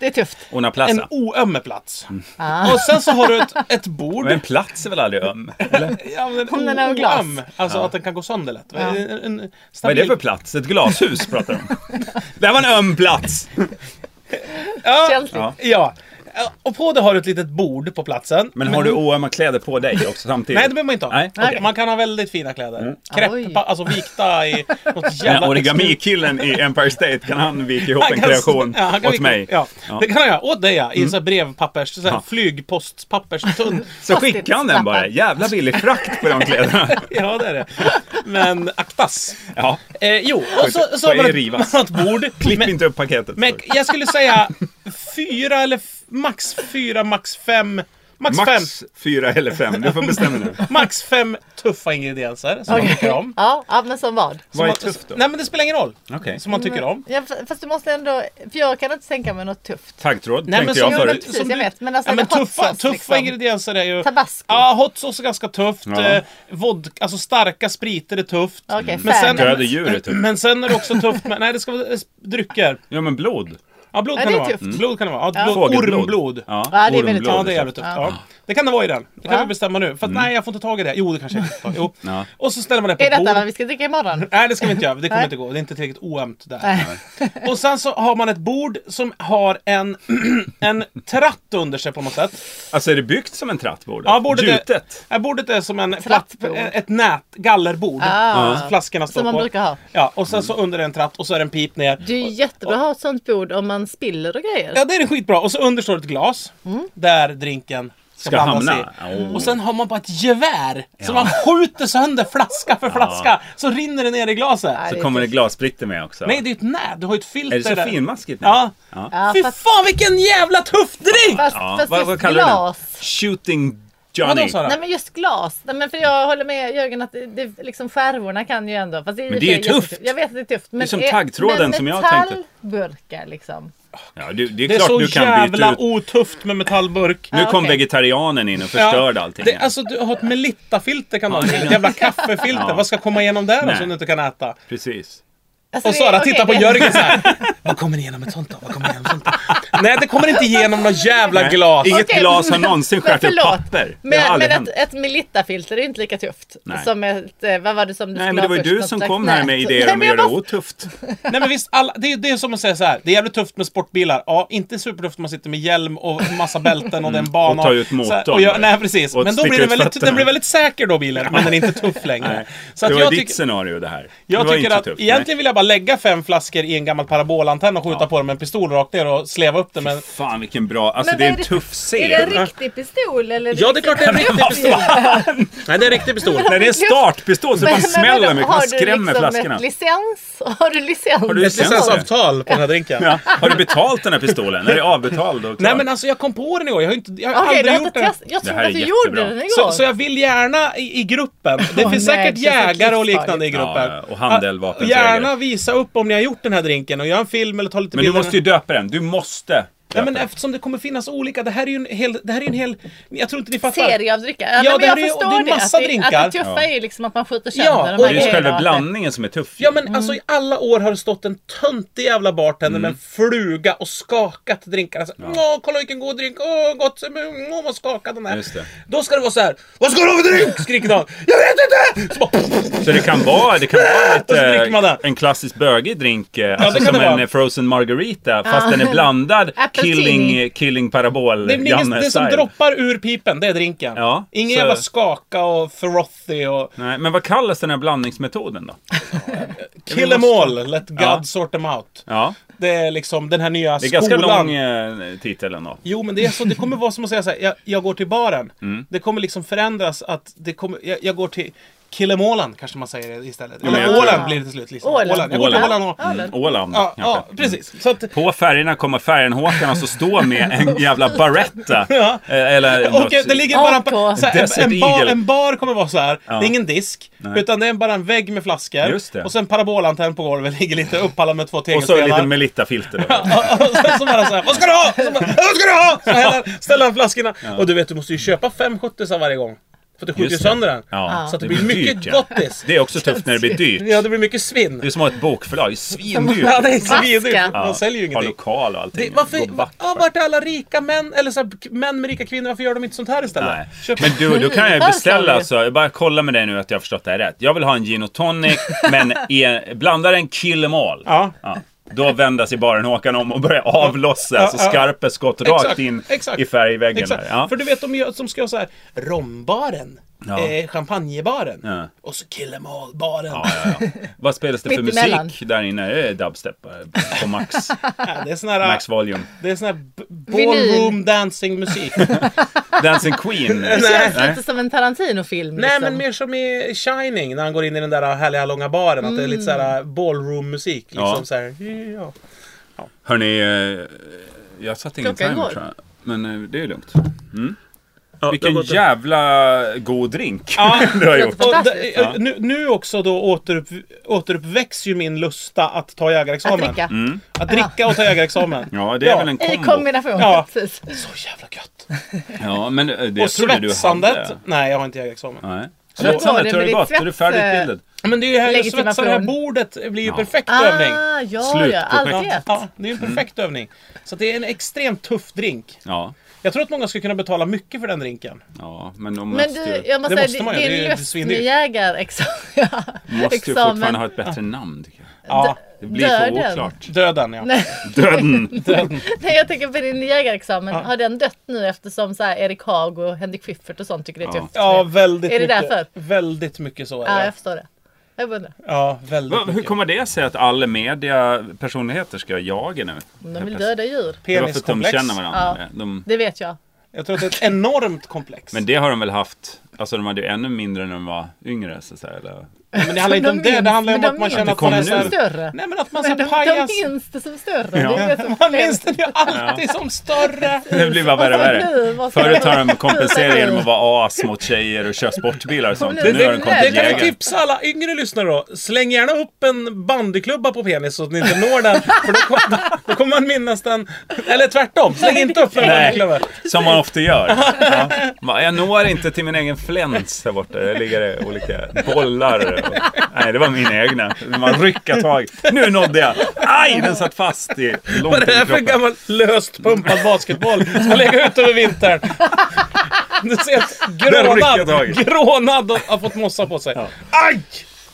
det är tufft.
Ona
En
plassa.
oöm plats.
Ah.
Och sen så har du ett, ett bord.
Mm. Men en plats är väl aldrig öm? Eller?
Ja, men
Om den är av glas.
oöm. Alltså att den kan gå sönder lätt.
Ja.
En, en
Vad är
stabil...
det för plats? Ett glashus pratar de om. Det här var en öm plats!
Ja,
Känsligt.
Ja.
ja. Och på det har du ett litet bord på platsen.
Men har du oömma kläder på dig också samtidigt?
Nej, det behöver man inte ha.
Nej, okej.
Man kan ha väldigt fina kläder. Mm.
Oj.
Krepp, pa- alltså vikta i något
Den
jävla...
här origami-killen i Empire State, kan han vika ihop
Han
en
kan-
kreation
Ja, han kan
åt
vika-
mig?
Ja.
Ja. Mm.
det kan han göra. Åt dig ja. I en sån här brevpappers, så här flygpostpappers tunn.
Så skickar han den bara. Jävla billig frakt på de kläderna.
Ja, det är det. Men aktas.
Ja,
Eh, jo, och så, så
Får
har
jag
man ett, man
rivas?
har ett bord.
klipp
Men,
inte upp paketet.
men jag skulle säga fyra eller f- max fyra, max fem. Max, fem.
Max fyra eller fem, du får bestämma nu.
Max fem tuffa ingredienser som man tycker om.
Ja, ja, men som vad?
Som
Vad är
man-
tufft då?
Nej men det spelar ingen roll.
Okej.
Som man tycker om.
Ja, f- fast du måste ändå, för jag kan inte tänka mig något tufft.
Taggtråd
Nej, men
tänkte
som-
jag
Jo, men
förut.
precis,
som
jag
du-
vet. Men alltså,
Ja, men
hot
tuffa,
sauce,
tuffa
liksom.
ingredienser är ju...
Tabasco.
Ja, hot sauce är ganska tufft.
Ja.
Eh, vodka, alltså starka spriter är tufft.
Okej, okay,
Men sen-
Döda djuret typ.
Men sen är det också tufft med... Nej, det ska vara eh, drycker.
Ja men blod.
Ja, blod
Ja,
kan
det är
det, vara.
tufft. Mm.
Blod kan det vara. Ja, blod,
Fågelblod.
ormblod. Ja.
Ja,
Ja, det är väldigt
ormblod.
tufft.
det är jävligt tufft.
Ja.
Ja. Mm. Det kan det vara i den. Det kan
Ja.
vi bestämma nu. För att nej, jag får inte tag i det. Jo, det kanske jag kan få tag i. Jo.
Ja.
Och så ställer man det på
Är
ett
detta vad
bord.
vi ska dricka imorgon?
Nej, det ska vi inte göra. Det kommer
Nej.
inte gå. Det är inte tillräckligt oämt där.
Nej.
Och sen så har man ett bord som har en, en tratt under sig på något sätt.
Alltså är det byggt som en tratt bordet?
Ja, bordet är-
Gjutet?
Ja, bordet är som en platt,
Trattbord.
ett nät, gallerbord.
Ah.
Så Flaskorna står
Som man
på.
brukar ha.
Ja, och sen så under är en tratt och så är det en pip ner.
Det är ju jättebra att ha ett sånt bord om man spiller och grejer.
Ja, det är skitbra. Och så under står ett glas
Mm.
där drinken
Ska
ska, blandas
hamna. Oh.
i.
Åh.
Och sen har man bara ett gevär som man skjuter sönder flaska för flaska. Så rinner det ner i glaset.
Nej,
Så
är
kommer det
tufft.
glassplitter med också.
Nej, det är ett nät. Du har ju ett filter
Är det så
där.
finmaskigt? nu?
Ja.
ja.
Ja,
Fy
fast,
fan vilken jävla tuff drink!
fast,
Ja.
fast
Vad,
just
vad kallar du
glas.
den? Shooting Johnny.
Vadå Sara?
Nej men just glas. Nej, men för jag håller med Jörgen att det, det, liksom skärvorna kan ju ändå. Fast det är
Men det är ju
jättetufft.
tufft.
Jag vet att det är tufft. Men
som taggtråden
men
som jag tänkte.
Metallburkar liksom.
Ja, du, det är
Det är
klart
så
du kan byta
jävla
ut.
otufft med metallburk.
Nu
Ja,
kom
okej.
vegetarianen in och förstörde allting.
Det, alltså du har ett Melitta-filter kan man ha. Ett jävla kaffefilter.
Ja.
Vad ska komma igenom där då
Nej.
som du inte kan äta?
Precis.
Alltså,
Och
det-
Sara
okej,
tittar på
det-
Jörgen så här. Vad kommer igenom ett sånt då? Vad kommer igenom ett sånt då? Nej, det kommer inte igenom något jävla glas.
Inget
Okej,
glas har
men-
någonsin
men
skärt upp
förlåt.
papper. Det har
Men,
aldrig
men
hänt.
ett, ett Melitta-filter är ju inte lika tufft.
Nej.
Som ett, eh, vad var det som du
Nej,
skulle
men det var ju
ha först?
du
Något
som
slags
kom här med
nät.
idéer
Nej,
om att
men jag
göra det
måste-
otufft.
Nej men visst, alla, det, är, det är som att säga så här. Det är jävligt tufft med sportbilar. Ja, inte supertufft om man sitter med hjälm och massa bälten och den banan.
Mm. och tar ut
Så här,
motorn.
och jag, nej precis.
Och
men då
sticker
blir den
ut
väldigt,
fötterna.
den blir väldigt säker då bilen. Men den är inte tuff längre. Så
det
att
var
jag
ditt
tycker...
scenario det här. det
Jag
var
tycker
inte
att
tufft.
egentligen vill jag bara lägga fem flaskor i en gammal parabolantenn och skjuta
Ja.
på den med en pistol rakt ner och sleva upp den med
Nej. Fan vilken bra, alltså
Men
det
vad
är en
är det-
tuff scen.
Är det en riktig pistol eller?
Ja, det är klart det är en riktig
Alltså,
pistol. Nej, det är en riktig pistol.
När det är en startpistol så bara smäller
vadå,
det mycket,
har
man
du
skrämmer
liksom
flaskorna.
Ett licens? Har du licens?
Har du
Ett licensavtal på den här drinken.
Ja. Har du betalt den här pistolen? Är det avbetald och klar?
Nej men alltså jag kom på den igår, jag har, ju inte, jag har
Okej, du
aldrig
har
gjort
inte
den.
testat. Jag
Det
trodde
här är
att du
jättebra.
gjorde den igår.
Så, så jag vill gärna i, i gruppen. Det
Åh,
finns
nej,
säkert
det känns så
jägare och liknande i
livsfarligt.
gruppen.
Ja, ja, och handel,
Ah,
vapensägare.
Gärna visa upp om ni har gjort den här drinken och göra en film eller ta lite
men du
bilder.
måste ju döpa den, du måste.
Ja,
döpa
men
den.
eftersom det kommer finnas olika. Det här är ju en hel... Det här är ju en hel jag tror inte ni fattar.
Serie av drinkar. Ja,
Ja,
men
det
jag
är ju-
förstår
det är
att
massa drinkar.
Att det tuffa
Ja.
är ju liksom att man skjuter sönder
Ja,
de här
och
det är ju
grejerna.
själva blandningen som är tuff. ju.
Ja men
Mm.
alltså i alla år har det stått en töntig jävla bartender med en
Mm.
fluga och skakat drinkarna. Så, Åh, kolla vilken god drink, åh gott, Mm, åh vad skakad den är.
Just det.
Då ska det vara så här. vad ska du ha för drink? skriker någon. Jag vet inte! Så bara,
Så det kan vara, det kan vara
Och så dricker man den.
lite, en klassisk bögig drink. eh,
det
Alltså
kan
som
det
en
vara.
eh, frozen margarita fast den är blandad
Appletini.
killing, eh, killing parabol
det, är ingen, det som droppar ur pipen, det är drinken.
Ja,
Ingen
så-
jävla skaka och frothy och
Nej, men vad kallas den här blandningsmetoden då?
kill em all, let God
Ja.
sort them out.
Ja,
Det är liksom den här nya
det är
skolan.
ganska lång eh, titel ändå.
Jo, men det är så. Det kommer vara som att säga så här, jag, jag går till baren.
Mm.
Det kommer liksom förändras att det kommer, jag, jag går till Killemålan kanske man säger istället.
men
Eller
jag tror-
Åland blir det till slut. Liksom.
Åland.
Jag går till
Åland.
Åland och...
Mm, Åland
Ja, ja,
kanske. Mm.
precis. Så att,
På färgerna kommer färgenhåkan alltså stå med en jävla baretta. eh, Eller
och
något,
det ligger bara en,
AK.
så här,
Desert
en, en, bar,
Eagle.
en bar kommer vara så här.
Ja.
Det är ingen disk. Utan det är bara en vägg med
Just
flaskor.
det.
Och sen parabolantenn på golvet ligger lite upphallad med två
och så
tegelstenar.
är det lite Melitta-filter. då.
Och sen så bara så här, vad ska du ha? Så bara, vad ska du ha? Så häller, ställer han flaskorna. Och du vet, du måste ju köpa fem sjuttisar varje gång. För att du skjuter ju
Just det.
sönder den.
Ja,
Så att det,
det
blir
blir
mycket
dyrt, ja.
gottis.
Det är också tufft när det blir dyrt.
Ja, det blir mycket svinn.
Det är som att ha ett bokförlag, det är svindyrt.
Ja, det är svindyrt.
Vaska.
Man säljer ju
Har
ingenting.
lokal och
Det,
allting.
varför,
Gå
va,
back
ja,
för-
vart är alla rika män, eller så här, k- män med rika kvinnor, varför gör de inte sånt här istället?
Nej.
Köp-
Men du, då kan jag ju
Här sa
beställa
vi.
alltså. Jag bara kolla med dig nu att jag har förstått det här rätt. Jag vill ha en gin och tonic, men i, blandar en kill em all.
Ja.
Då vänder sig baren Håkan om och börjar avlossa.
Ja,
alltså
ja.
skarpa skott rakt
Exakt,
in
exakt.
i färgväggen
Exakt.
där. Ja.
För du vet, de, gör, de ska göra så här, rombaren,
Ja.
eh, champagnebaren,
Ja.
och så kill em all-baren.
Ja, ja, ja. Vad spelas det för
Mitt emellan.
musik där inne? Är det dubstep eh, på max,
Ja, det är sån här,
max volume?
det är sån här b-
Vinyl.
ballroom dancing musik.
Dancing Queen? eh,
Det känns lite som en Tarantino-film.
Nej,
liksom.
men mer som i Shining, när han går in i den där härliga långa baren, att det är lite så här
Mm.
ballroom-musik. Liksom
Ja.
så här, ja.
Hörni, eh, jag satte ingen
Klockan
timer
går.
tror jag. Men eh, det är lugnt.
Ja, det har
Vilken
gått en-
jävla god drink
Ja.
du har gjort.
Jättebra.
Och
Fantastiskt.
d- nu, nu också då återupp, återuppväcks ju min lusta att ta jägarexamen.
Att dricka.
Att dricka och ta jägarexamen.
Ja, det är väl en
I
kombo.
kombination.
Ja.
Precis.
Så jävla gött.
Ja, men eh, det
och
trodde du
svetsandet.
hade.
Nej, jag har inte jägarexamen.
Nej.
var det eh,
Svetsandet, hur har
med
det
ditt
gått? Är du
svets-
färdigutbildad?
Men det är ju här, jag svetsar det här
Legitimation.
bordet. Det blir ju perfekt övning.
Ah, ja, ja. Allt
Slutprojekt.
rätt.
Ja, det är ju en perfekt övning. Så att det är en extremt tuff drink.
Ja.
Jag tror att många skulle kunna betala mycket för den drinken.
Ja, men de
Men
måste
du,
ju...
jag måste säga,
Det måste man ju,
din
det är ju
lust med
svindyrt.
måste ju fortfarande ha
jägarexamen.
ett bättre namn, tycker jag.
Ja,
Det blir för
Döden.
oklart.
döden ja.
Döden!
Nej, jag tänker på din jägarexamen. Har den dött nu eftersom så här Erik Haag och Henrik Schyffert och sånt tycker det är
Ja.
tufft?
Ja, väldigt
Är det
mycket.
därför? Ah,
Väldigt mycket så
ja,
är det.
jag förstår det. Jag undrar.
Ja, väldigt
Va, Hur
mycket.
kommer det sig att alla mediapersonligheter ska jaga nu?
De vill döda djur.
Det var för att de
Peniskomplex.
känner varandra. De,
Det vet jag.
Jag tror att det är ett enormt komplex.
men det har de väl haft, alltså de hade ju ännu mindre när de var yngre så att säga. Eller?
Men det handlar inte om
De
det, det
minns-
handlar om
men de
att man
minns
känner att
det
man är
kom nu.
såhär...
Större.
Nej men att man är
Men de,
såhär
de
pajas.
minns det som större.
Ja.
Det är det som
Man minns den ju alltid som större.
Det blir bara värre och värre.
Nu, vad ska
Förut
jag-
har de kompenserat genom att vara as mot tjejer och köra sportbilar och sånt. Nu
Det-
har de
det-
kommit
Det
till
kan vi
jägare.
tipsa alla yngre lyssnare då. Släng gärna upp en bandyklubba på penis så att ni inte når den. För då, kom, då kommer man minnas den. Eller tvärtom, släng inte upp den
Nej.
där
Som man ofta gör. Ja. Va, Jag når inte till min egen fläns där borta. Där ligger det olika bollar. Och... Nej, det var min egna. Man rycker tag. Nu nådde jag. Aj, den satt fast i långt
Vad är
in
det
i
här för
kroppen.
gammal löst pumpad basketboll som har legat ute över vintern? Du ser att
rycker jag
grånad,
tag i.
grånad och har fått mossa på sig. Aj!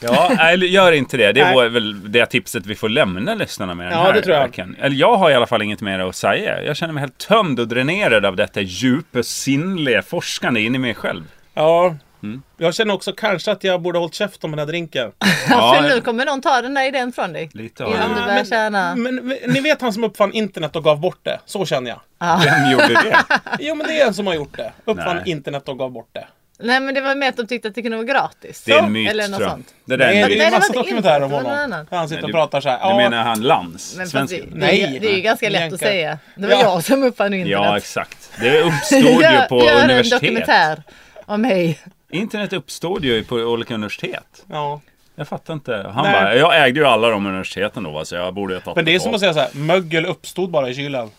Ja, nej, gör inte det. Det
Nej.
är väl det tipset vi får lämna lyssnarna med den
Ja,
här
det tror jag.
veckan. Eller jag har i alla fall inget mer att säga. Jag känner mig helt tömd och dränerad av detta djupa, sinnliga forskande in i mig själv.
Ja.
Mm.
Jag känner också kanske att jag borde ha hållit käft om den här drinken.
Ja,
För nu kommer någon ta den där idén från dig.
lite av
Innan du
det.
börjar tjäna.
Men ni vet han som uppfann internet och gav bort det? Så känner jag.
Vem gjorde det?
Jo men det är en som har gjort det. Uppfann
Nej.
internet och gav bort det.
Nej men det var med att de tyckte att det kunde vara gratis.
Det är
Så,
en myt,
Eller något
tror jag.
sånt.
Det där är
Nej,
en myt.
det är
Nej,
en
det
massa
var inte
dokumentärer om
internet, det var någon
honom.
annan.
Han sitter
Nej,
och
du-
pratar så här.
Nu
"Ja,
menar han Lans,
Men fast det,
svensken.
det, det är ju
Nej.
ganska lätt
Bianca.
att säga. Det var
Ja.
jag som uppfann internet.
Ja, exakt. Det uppstod ju på
gör en
universitet.
dokumentär om mig.
Internet uppstod ju på olika universitet.
Ja.
Jag fattar inte. Han
Nej.
bara, jag ägde ju alla de universiteten då, va, så jag borde ju ha tagit
Men det är
betalt.
som att säga så här, mögel uppstod bara i kylen.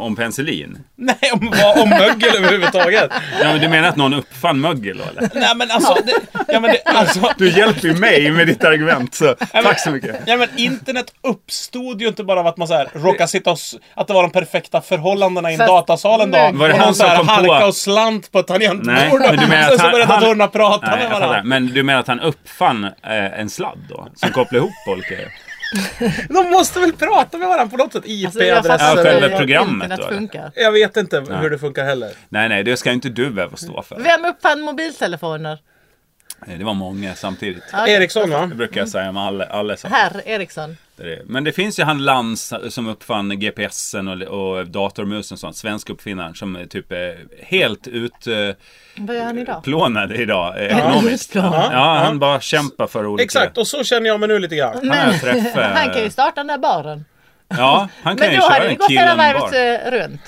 Om penicillin?
Nej, om, vad- om mögel överhuvudtaget.
Ja, men du menar att någon uppfann mögel då, eller?
Nej men alltså, det, ja, men det, alltså
Du hjälper ju mig med ditt argument, så tack så mycket.
Ja, men internet uppstod ju inte bara av att man så här, råkade sitta och... s- Att det var de perfekta förhållandena i en
Fast-
datasal en dag.
Var
det
och
han
någon så här
som kom på-
halka och slant på ett
Nej,
tangentbord.
men du menar
Sen
att
så
han...
började
han-
datorerna prata
Nej,
med
jag fattar.
varandra.
Men du menar att han uppfann eh, en sladd då? Som kopplar ihop olika...
De måste väl prata med varandra på något sätt?
Alltså,
fattar
IP-adresser.
inte. själva
hur
programmet
internet
då, eller?
funkar.
Jag vet inte hur det funkar heller.
Nej, nej, det ska ju inte du behöva stå för.
Vem uppfann mobiltelefoner?
Nej, Det var många samtidigt.
Ja,
Ericsson va?
Det brukar jag säga om alla, alla saker.
Herr Eriksson.
Det är- Men det finns ju han Lans som uppfann GPSen och, och datormusen och sånt. Svensk uppfinnaren som är typ är helt
Vad gör han idag?
utplånad idag eh, ekonomiskt.
Utplånad.
Ja, han bara kämpar för olika...
Exakt, och så känner jag mig nu lite grann.
Han har jag träffat...
Han kan ju starta den där baren.
Ja, han kan
Men
ju
då hade
köra
det
en
gått hela
killen
varvet
bar.
eh, runt.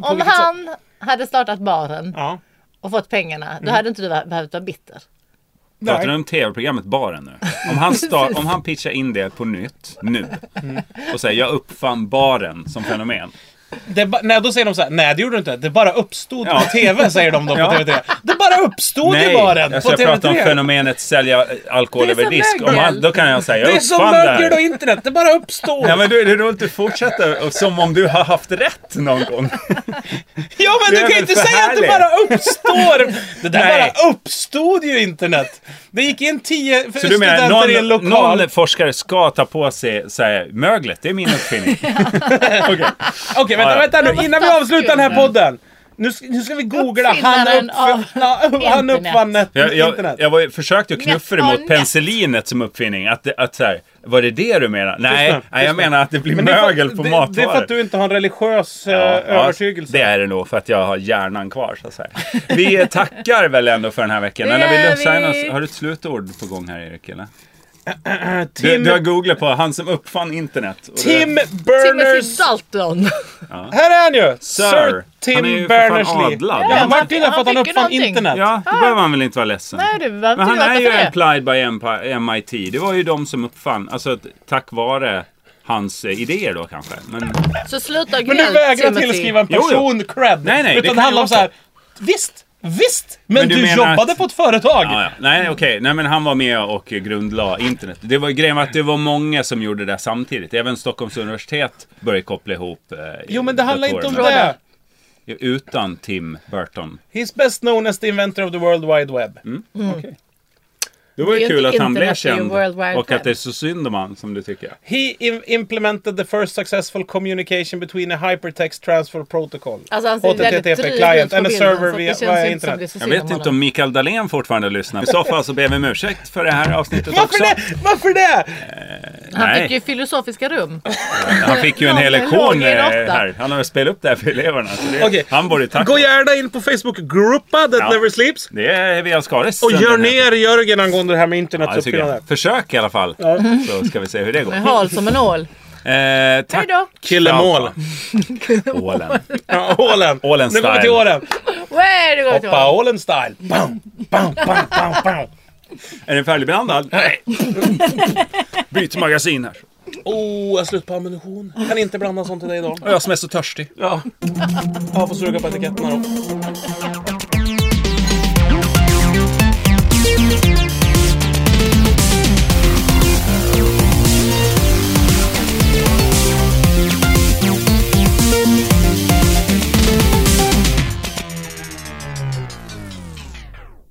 Om
vilket sätt?
han hade startat baren
Ja.
och fått pengarna,
Mm.
då hade inte du va- behövt vara bitter.
Pratar du om tv-programmet Baren nu? Om han, star- om han pitchar in det på nytt, nu, och säger jag uppfann Baren som fenomen.
Det ba- nej, då säger de så här, nej det gjorde du inte. Det bara uppstod
Ja.
på TV, säger de då på
Ja.
TV3. Det bara uppstod ju bara den
alltså
på
jag pratar om
TV3.
fenomenet sälja eh, alkohol
Det är
över
som
disk. Om
mögel.
han, då kan jag säga
Det
jag
är som
uppfann det
mögel och
här.
internet, det bara uppstod.
Ja men då är det roligt att fortsätta och som om du har haft rätt någon gång.
Ja men
Det
du
är
kan ju
väl
inte
för
säga att det
härligt.
bara uppstår! Det där
Nej.
bara uppstod ju internet! Det gick in tio f-
Så du menar,
studenter i en
någon,
lokal.
någon forskare ska ta på sig så här, möglet, det är min uppfinning. Okej.
Okej vänta,
Ja, ja.
vänta nu innan vi avslutar den här
Mm.
podden. Nu ska, nu ska vi googla. Han,
Uppfinnaren av
uppf- ja, han
internet.
uppfann ett
Jag,
internet.
jag, jag var, ju- försökte ju knuffa det
Net on
mot
net.
penicillinet som uppfinning. Att, det- att så här, var det det du menar? Nej,
nu,
nej jag menar att det blir
det är för-
mögel på
det,
matvaror.
Det är för att du inte har en religiös eh,
Ja, ja,
övertygelse.
Det är det nog, för att jag har hjärnan kvar så att säga. Vi tackar väl ändå för den här veckan.
Det
Eller vill
gör
du säga
vi.
något? Har du ett slutord på gång här Erik? Eller? Du,
Äh, Tim,
du har googlat på han som uppfann internet. Och det-
Tim
Timothy
Berners...
Dalton.
Här är han ju! Sir,
han är ju för
Tim
fan
Berners-Lee.
adlad.
Ja,
Ja,
Martin har
han
fått han
fick ju
uppfann
någonting.
internet.
Ja, då behöver han väl inte vara ledsen.
Nej, du behöver
Men
inte
han
gråta
är ju
för det.
applied by Empi- MIT. Det var ju de som uppfann, alltså t- tack vare hans eh, idéer då kanske. Men,
Så sluta
Men du
gnäll
vägrar
Timothy.
tillskriva en
Jo, jo.
person cred.
Nej, nej, det
utan
kan
det handlar
ju
om så här. Visst, visst, men,
du
du,
menar
jobbade
att-
på ett företag.
ja, ja. Nej, okej. Nej, men han var med och grundlade internet. Det var grejen var att det var många som gjorde det samtidigt. Även Stockholms universitet började koppla ihop eh,
Jo, men det handlar inte om
datorerna.
det.
Utan Tim Burton.
He's best known as the inventor of the World Wide Web.
Mm. Det var
Det
ju
är ju
kul
inte
att han blev
internet, det är ju
känd.
World Wide
Och att
Web.
det är så synd om han, som du tycker.
He im- implemented the first successful communication between a hypertext transfer protocol.
Alltså han ser väldigt dryg ut på
client and a
bilden,
server
så
via,
det känns
via
ju inte som det är
internet.
så
Jag
synd
vet inte
honom.
om Mikael Dahlén fortfarande lyssnar. I så fall så ber vi om ursäkt för det här avsnittet
Varför
också.
det? Varför det?
Han
Nej.
fick ju filosofiska rum.
Han fick ju en hel
Ja,
lektion
låg
eh,
i en åtta.
här. Han har spelat upp det här för eleverna. Så det,
Okej.
Han borde ju tacka.
Gå gärna in på Facebookgruppa That
Ja.
Never Sleeps.
Det är VL Skaris.
Och gör
Den här-
ner Jörgen angående det här med internets
Ja, det tycker
uppfinnande.
jag. Försök i alla fall.
Mm.
Så ska vi se hur det går.
Med hal som en ål.
Eh, tack.
Hej då.
Killemål.
Ålen.
Ja, ålen.
Ålen
Nu går vi
style.
till ålen.
Way to go
Hoppa
to
ålen style. Bam, bam, bam, bam, bam.
Är den färdigbehandlad? Nej. Byt magasin här.
Oh, jag har slut på ammunition. Kan inte blanda sånt till dig idag.
Och jag som är så törstig.
Ja. Jag får suga på etiketterna då.